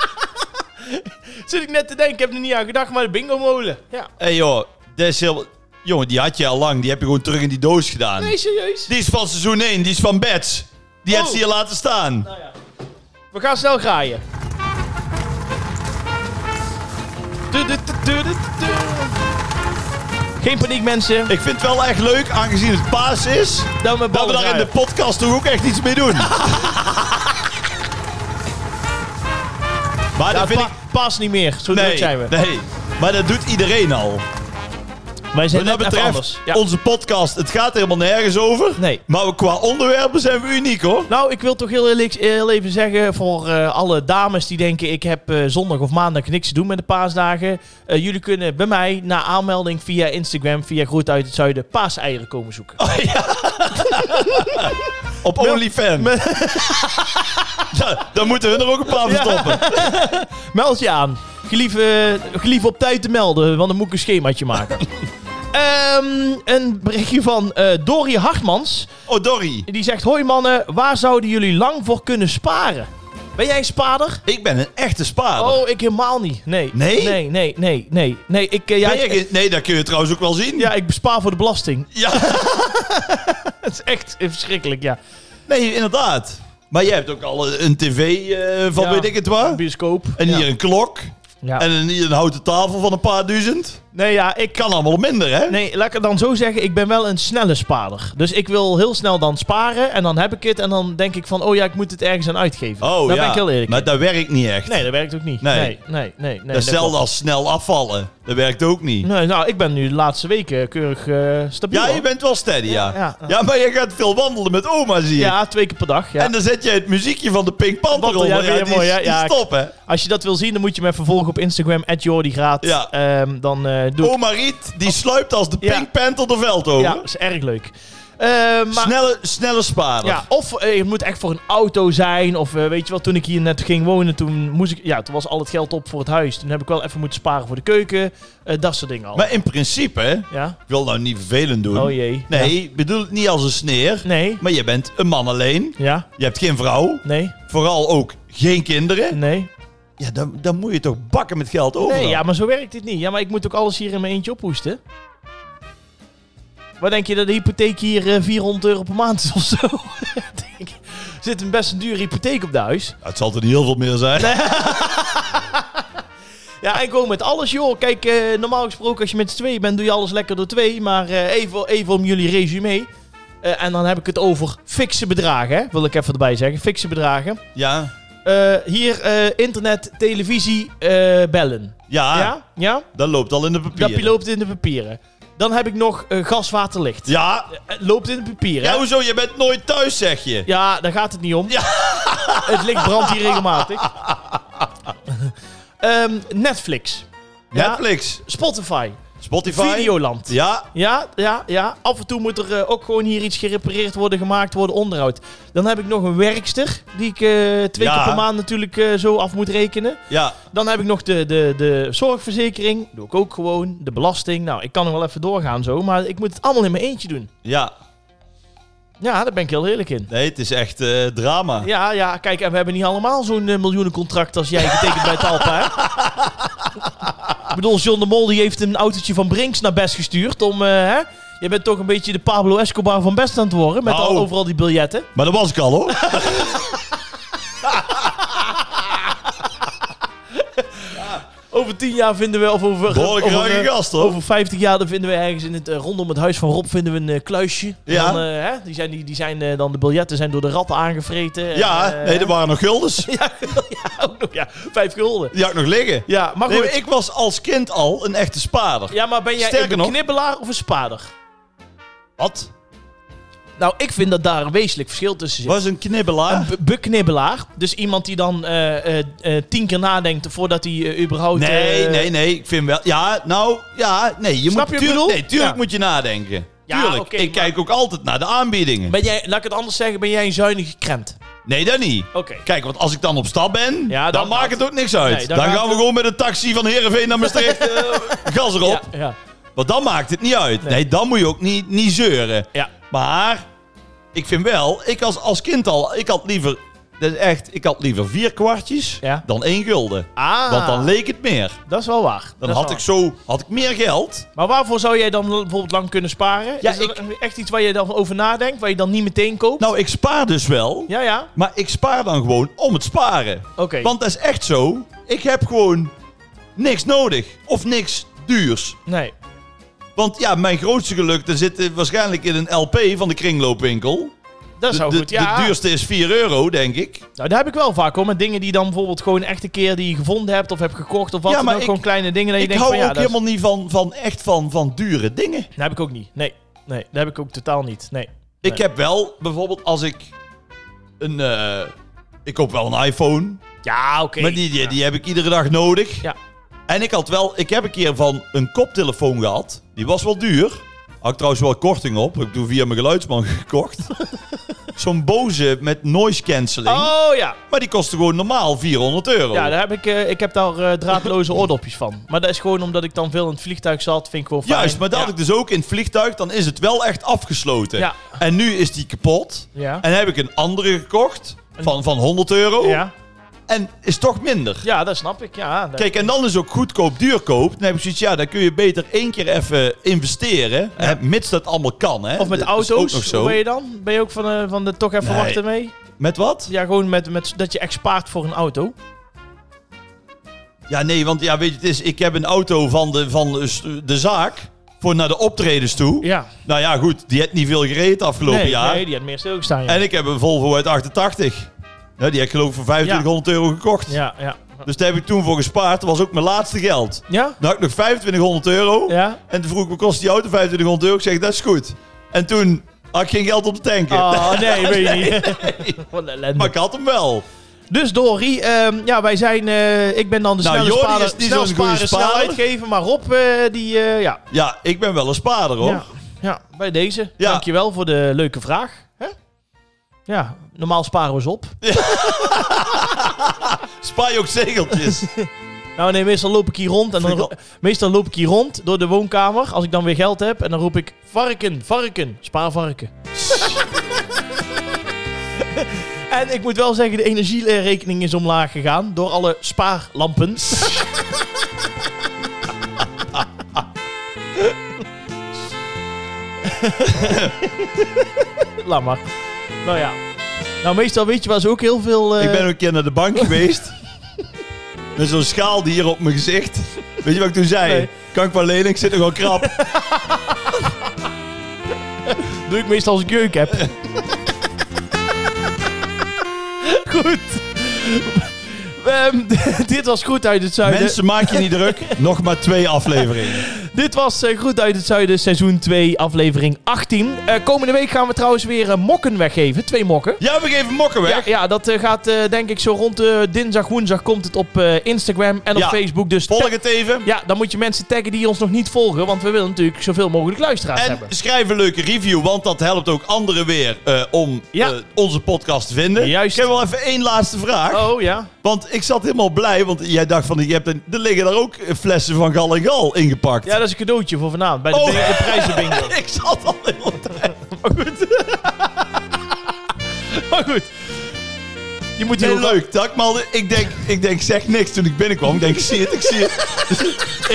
zit ik net te denken, ik heb er niet aan gedacht, maar de bingo molen. Ja.
Hé joh, dat is heel... Jongen, die had je al lang. Die heb je gewoon terug in die doos gedaan.
Nee, serieus?
Die is van seizoen 1. Die is van Bets. Die heeft
Oh.
ze hier laten staan.
Nou ja. We gaan snel graaien. Du- du- du- du- du- du- Geen paniek mensen.
Ik vind het wel echt leuk, aangezien het paas is,
Dan mijn
dat we
ballen
daar in de
draaien.
podcast toch ook echt iets mee doen. maar
Ja,
dat vind
pa-
ik...
Pas niet meer. Zo druk
Nee,
zijn we.
nee, maar dat doet iedereen al.
Wij zijn
Wat
net
dat
even
betreft,
anders. Ja.
onze podcast, het gaat helemaal nergens over.
Nee.
Maar we- qua onderwerpen zijn we uniek hoor.
Nou, ik wil toch heel, eerlijk- heel even zeggen voor eh, alle dames die denken... ik heb eh, zondag of maandag niks te doen met de paasdagen. Eh, jullie kunnen bij mij na aanmelding via Instagram... via Groet uit het Zuiden paaseieren komen zoeken.
Oh. Op OnlyFans. Ja, dan moeten hun er ook een paar verstoppen.
Meld je aan. Gelief, eh, gelief op tijd te melden, want dan moet ik een schemaatje maken. Ehm, een berichtje van eh Dori Hartmans.
Oh, Dorry.
Die zegt, hoi mannen, waar zouden jullie lang voor kunnen sparen? Ben jij een spaarder?
Ik ben een echte spaarder.
Oh, ik helemaal niet. Nee.
Nee?
Nee, nee, nee, nee. nee ik, eh, ja,
Ben jij
ik-
geen- nee, dat kun je trouwens ook wel zien.
ja, ik bespaar voor de belasting.
Ja.
Het is echt verschrikkelijk, ja.
Nee, inderdaad. Maar jij hebt ook al een tv eh, van
Ja.
weet ik het waar.
Een bioscoop.
En
ja.
hier een klok.
Ja.
En een, hier een houten tafel van een paar duizend.
nee, ja, ik
Kan allemaal minder, hè?
Nee, laat ik het dan zo zeggen. Ik ben wel een snelle spaarder. Dus ik wil heel snel dan sparen. En dan heb ik het. En dan denk ik van, oh ja, ik moet het ergens aan uitgeven.
Oh
Daar
ja.
ben ik heel eerlijk. in.
Maar dat werkt niet echt.
Nee, dat werkt ook niet.
Nee.
Nee, nee, nee. nee,
dat is hetzelfde
klopt.
als snel afvallen. Dat werkt ook niet.
Nee, nou, ik ben nu de laatste weken keurig eh, stabiel.
Ja,
hoor.
je bent wel steady, ja.
Ja,
Ja,
ja.
maar je gaat veel wandelen met oma, zie je.
Ja, twee keer per dag. Ja.
En dan zet je het muziekje van de Pink Panther
Wandel, ja,
onder.
vind je
Ja, die,
mooi,
mooi,
hè? Ja, ik-
stop, hè.
Als je dat wil zien, dan moet je me vervolgen op Instagram, @jordigraat.
Ja. Oh,
Ehm, dan eh, doe ik...
Oma Riet, die sluipt als de
Ja.
Pink Panther de veld over.
Ja, is erg leuk. Ehm, maar...
snelle, snelle spaarder.
Ja, of eh, het moet echt voor een auto zijn. Of eh, weet je wel, toen ik hier net ging wonen, toen, moest ik, ja, toen was al het geld op voor het huis. Toen heb ik wel even moeten sparen voor de keuken. eh, dat soort dingen al.
Maar in principe, hè, ik
ja?
wil nou niet vervelend doen.
Oh jee.
Nee, ik bedoel het niet als een sneer.
Ja. Nee.
Maar je bent een man alleen.
Ja.
Je hebt geen vrouw.
Nee.
Vooral ook geen kinderen.
Nee.
Ja, dan, dan moet je toch bakken met geld over.
Nee, ja, maar zo werkt dit niet. Ja, maar ik moet ook alles hier in mijn eentje ophoesten. Wat denk je dat de hypotheek hier eh, 400 euro per maand is of zo? Denk ik. er zit een best een dure hypotheek op de huis.
Het zal er niet heel veel meer zijn.
Ja, en gewoon met alles, joh. Kijk, eh, normaal gesproken als je met z'n tweeën bent, doe je alles lekker door twee. Maar eh, even, even om jullie resume. Eh, en dan heb ik het over fikse bedragen, hè? wil ik even erbij zeggen. Fikse bedragen.
Ja.
Eh, hier eh, internet, televisie, eh, bellen.
Ja,
Ja? Ja?
dat loopt al in de papieren.
Dat loopt in de papieren. Dan heb ik nog eh, gas, water, licht.
Ja.
Eh, loopt in de papieren.
ja,
hè?
hoezo? Je bent nooit thuis, zeg je.
Ja, daar gaat het niet om. het licht brandt hier regelmatig. Ehm, Netflix. Ja.
Netflix,
Spotify.
Spotify.
Videoland.
Ja,
Ja, ja, ja. Af en toe moet er eh, ook gewoon hier iets gerepareerd worden, gemaakt worden, onderhoud. Dan heb ik nog een werkster, die ik eh, twee
Ja.
keer per maand natuurlijk eh, zo af moet rekenen.
ja.
Dan heb ik nog de, de, de zorgverzekering, doe ik ook gewoon. De belasting, nou, ik kan nog wel even doorgaan zo, maar ik moet het allemaal in mijn eentje doen.
Ja,
Ja, daar ben ik heel eerlijk in.
nee, het is echt eh, drama.
Ja, ja, kijk, en we hebben niet allemaal zo'n eh, miljoenencontract als jij getekend bij Talpa, hè? Ik bedoel, John de Mol die heeft een autootje van Brinks naar Best gestuurd om, eh, hè? Je bent toch een beetje de Pablo Escobar van Best aan het worden, met al,
Nou.
overal die biljetten.
Maar dat was ik al, hoor.
Over tien jaar vinden we, of over...
Behoorlijk
over,
ruige
eh,
gast, hoor.
Over 50 jaar dan vinden we ergens in het, eh, rondom het huis van Rob vinden we een eh, kluisje.
Ja.
Dan, eh, hè? Die zijn, die, die zijn eh, dan, de biljetten zijn door de ratten aangevreten. en,
Ja,
eh,
nee, er waren nog guldens.
ja, ook nog, ja, vijf gulden.
Die had ik nog liggen.
Ja, maar goed.
Nee, maar ik was als kind al een echte spaarder.
Ja, maar ben jij
Sterker
een
nog-
knibbelaar of een spaarder?
Wat?
Nou, ik vind dat daar een wezenlijk verschil tussen zit.
Was een knibbelaar?
Een beknibbelaar, dus iemand die dan eh, eh, eh, tien keer nadenkt voordat hij eh, überhaupt...
Nee,
eh,
nee, nee. Ik vind wel... Ja, nou, ja, nee. Je
Snap je wat
moet,
ik bedoel?
Nee, tuurlijk
Ja.
moet je nadenken.
Ja,
tuurlijk.
oké,
ik
maar-
kijk ook altijd naar de aanbiedingen.
Ben jij, laat ik het anders zeggen, ben jij een zuinige krent?
Nee, dat niet.
Oké.
Kijk, want als ik dan op stap ben,
Ja,
dan,
dan gaat-
maakt het ook niks uit.
Nee, dan
dan
gaat
gaan we
het-
gewoon met een taxi van Heerenveen naar Maastricht. eh, gas erop.
Ja, ja,
Want dan maakt het niet uit.
Nee.
Nee, dan moet je ook niet, niet zeuren.
ja.
Maar ik vind wel, ik als, als kind al, ik had liever, dat is echt, ik had liever vier kwartjes
Ja.
dan één gulden.
Ah,
Want dan leek het meer.
dat is wel waar. Dat
Dan
is
had
wel
ik zo, had ik meer geld.
waar. Maar waarvoor zou jij dan bijvoorbeeld lang kunnen sparen?
Ja,
Is dat echt iets waar je dan over nadenkt, waar je dan niet meteen koopt?
Nou, ik spaar dus wel,
Ja, ja,
maar ik spaar dan gewoon om het sparen.
oké.
Want dat is echt zo, ik heb gewoon niks nodig of niks duurs.
Nee,
Want ja, mijn grootste geluk, dat zit eh, waarschijnlijk in een LP van de kringloopwinkel.
Dat
de,
zou
de-
goed, ja.
de duurste is 4 euro, denk ik.
Nou, daar heb ik wel vaak hoor. Met dingen die dan bijvoorbeeld gewoon echt een keer die je gevonden hebt of hebt gekocht of wat
Ja,
dan
maar
ook.
ik-
Gewoon kleine dingen. Dat je
Ik
denkt
hou
van, ja,
ook
dat is-
helemaal niet van, van echt van, van dure dingen.
Dat heb ik ook niet. Nee. Nee, dat heb ik ook totaal niet. Nee.
Ik heb wel, bijvoorbeeld als ik een... eh, ik koop wel een iPhone,
Ja, oké.
maar die, die, die heb ik iedere dag nodig.
Ja.
En ik had wel, ik heb een keer van een koptelefoon gehad. Die was wel duur. Had ik trouwens wel korting op. Ik doe via mijn geluidsman gekocht. Zo'n boze met noise cancelling.
Oh ja.
Maar die kostte gewoon normaal 400 euro.
Ja, daar heb ik, eh, ik heb daar eh, draadloze oordopjes van. Maar dat is gewoon omdat ik dan veel in het vliegtuig zat. Vind ik wel fijn.
Juist, maar dat
ja.
had ik dus ook in het vliegtuig. Dan is het wel echt afgesloten.
Ja.
En nu is die kapot.
Ja.
En Oh. heb ik een andere gekocht van, van 100 euro.
Ja.
En is toch minder.
ja, dat snap ik. Ja, dat-
Kijk, en dan is ook goedkoop duurkoop. Dan heb ik zoiets, ja, dan kun je beter één keer even investeren. Hè, mits dat allemaal kan, hè.
Of met
Dat is
auto's,
ook nog zo.
hoe ben je dan? Ben je ook van, eh, van de toch even
Nee.
wachten mee?
Met wat?
Ja, gewoon met, met, dat je echt spaart voor een auto.
Ja, nee, want ja, weet je, het is, ik heb een auto van de, van de, s- de zaak voor naar de optredens toe.
Ja.
Nou ja, goed, die had niet veel gereden afgelopen
Nee,
jaar.
nee, die had meer stilgestaan. Ja,
En ik heb een Volvo uit 88. Nou, die heb ik geloof ik voor 2500 euro gekocht.
ja. Ja?
Dus daar heb ik toen voor gespaard. Dat was ook mijn laatste geld.
Ja?
Nou, had ik nog 2500 euro.
ja?
En toen vroeg ik, wat kost die auto 2500 euro? Ik zeg, dat is goed. En toen had ik geen geld om te tanken.
Oh, nee, weet je niet. Wat een ellende.
Maar ik had hem wel.
Dus Dorie, ehm, ja, wij zijn... eh, ik ben dan de
Nou,
snelle
Jordi
spaarder,
is niet
snel
zo'n goede
sparen, snel
spaarder.
uitgeven. Maar Rob, eh, die... eh, ja.
Ja, ik ben wel een spaarder hoor.
ja. Ja, bij deze.
Ja.
Dankjewel voor de leuke vraag. Hè? Ja, normaal sparen we ze op.
Spaar je ook zegeltjes.
Nou nee, meestal loop ik hier rond. En dan
Vind ik
ro- meestal loop ik hier rond door de woonkamer. Als ik dan weer geld heb. En dan roep ik, varken, varken. Spaar varken. en ik moet wel zeggen, de energierekening is omlaag gegaan. Door alle spaarlampen. Laat maar. Nou ja. Nou, meestal weet je waar ze ook heel veel... eh,
ik ben ook een keer naar de bank geweest. Met zo'n schaal die hier op mijn gezicht. Weet je wat ik toen zei?
Nee.
Kan ik wel lenen? Ik zit nog wel krap.
Doe ik meestal als ik jeuk heb. goed. Ehm, dit was Goed uit het Zuiden.
Mensen, maak je niet druk. Nog maar twee afleveringen.
Dit was eh, Goed uit het Zuiden, seizoen 2, aflevering 18. Eh, komende week gaan we trouwens weer eh, mokken weggeven. Twee mokken.
Ja, we geven mokken weg.
Ja, ja, dat eh, gaat eh, denk ik zo rond eh, dinsdag, woensdag komt het op eh, Instagram en op
Ja.
Facebook. Dus tag-
Volg het even.
ja, dan moet je mensen taggen die ons nog niet volgen. Want we willen natuurlijk zoveel mogelijk luisteraars
En
hebben.
schrijf een leuke review, want dat helpt ook anderen weer eh, om
Ja.
eh, onze podcast te vinden.
Juist.
Ik heb wel even één laatste vraag.
Oh ja.
Want ik zat helemaal blij, want jij dacht van, je hebt een, er liggen daar ook eh, flessen van Gal en Gal ingepakt.
Ja, dat is een cadeautje voor vanavond bij de,
Oh.
bing- de prijzenbingo.
ik zat al de hele tijd.
Maar goed. Je moet
Heel
heel
leuk, tak. Maar al- ik denk, ik denk, zeg niks toen ik binnenkwam. Ik denk, ik zie het, ik zie het.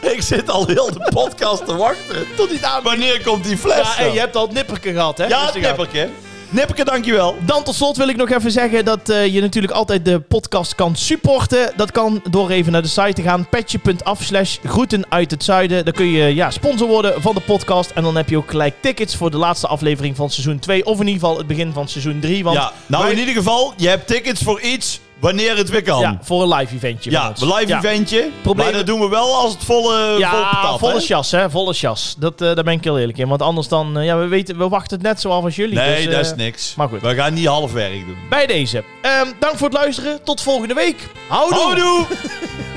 ik, ik zit al heel de podcast te wachten. Tot die naam. Wanneer komt die fles?
Ja, en
dan?
je hebt al het nipperke gehad, hè?
ja
Dus die gaat.
Nipperke. Nipperke, dankjewel.
Dan tot slot wil ik nog even zeggen dat eh, je natuurlijk altijd de podcast kan supporten. Dat kan door even naar de site te gaan. petje.af slash groeten uit het zuiden. Dan kun je ja, sponsor worden van de podcast. En dan heb je ook gelijk tickets voor de laatste aflevering van seizoen 2. Of in ieder geval het begin van seizoen 3. Want
Ja, nou,
wij-
in ieder geval, je hebt tickets voor iets wanneer het weer kan.
ja,
Ja,
voor een live eventje. van ons.
een live
Ja.
eventje.
Probleem-
Maar dat doen we wel als het volle, vol
Ja,
patat,
volle
hè?
chas, hè? Volle chas. Dat, eh, daar ben ik heel eerlijk in. Want anders dan, eh, ja, we, weten, we wachten het net zo af als jullie.
Nee,
dus, eh,
dat is niks.
maar goed.
We gaan niet half werk doen.
bij deze. Ehm, dank voor het luisteren. Tot volgende week. Houdoe!
Houdoe!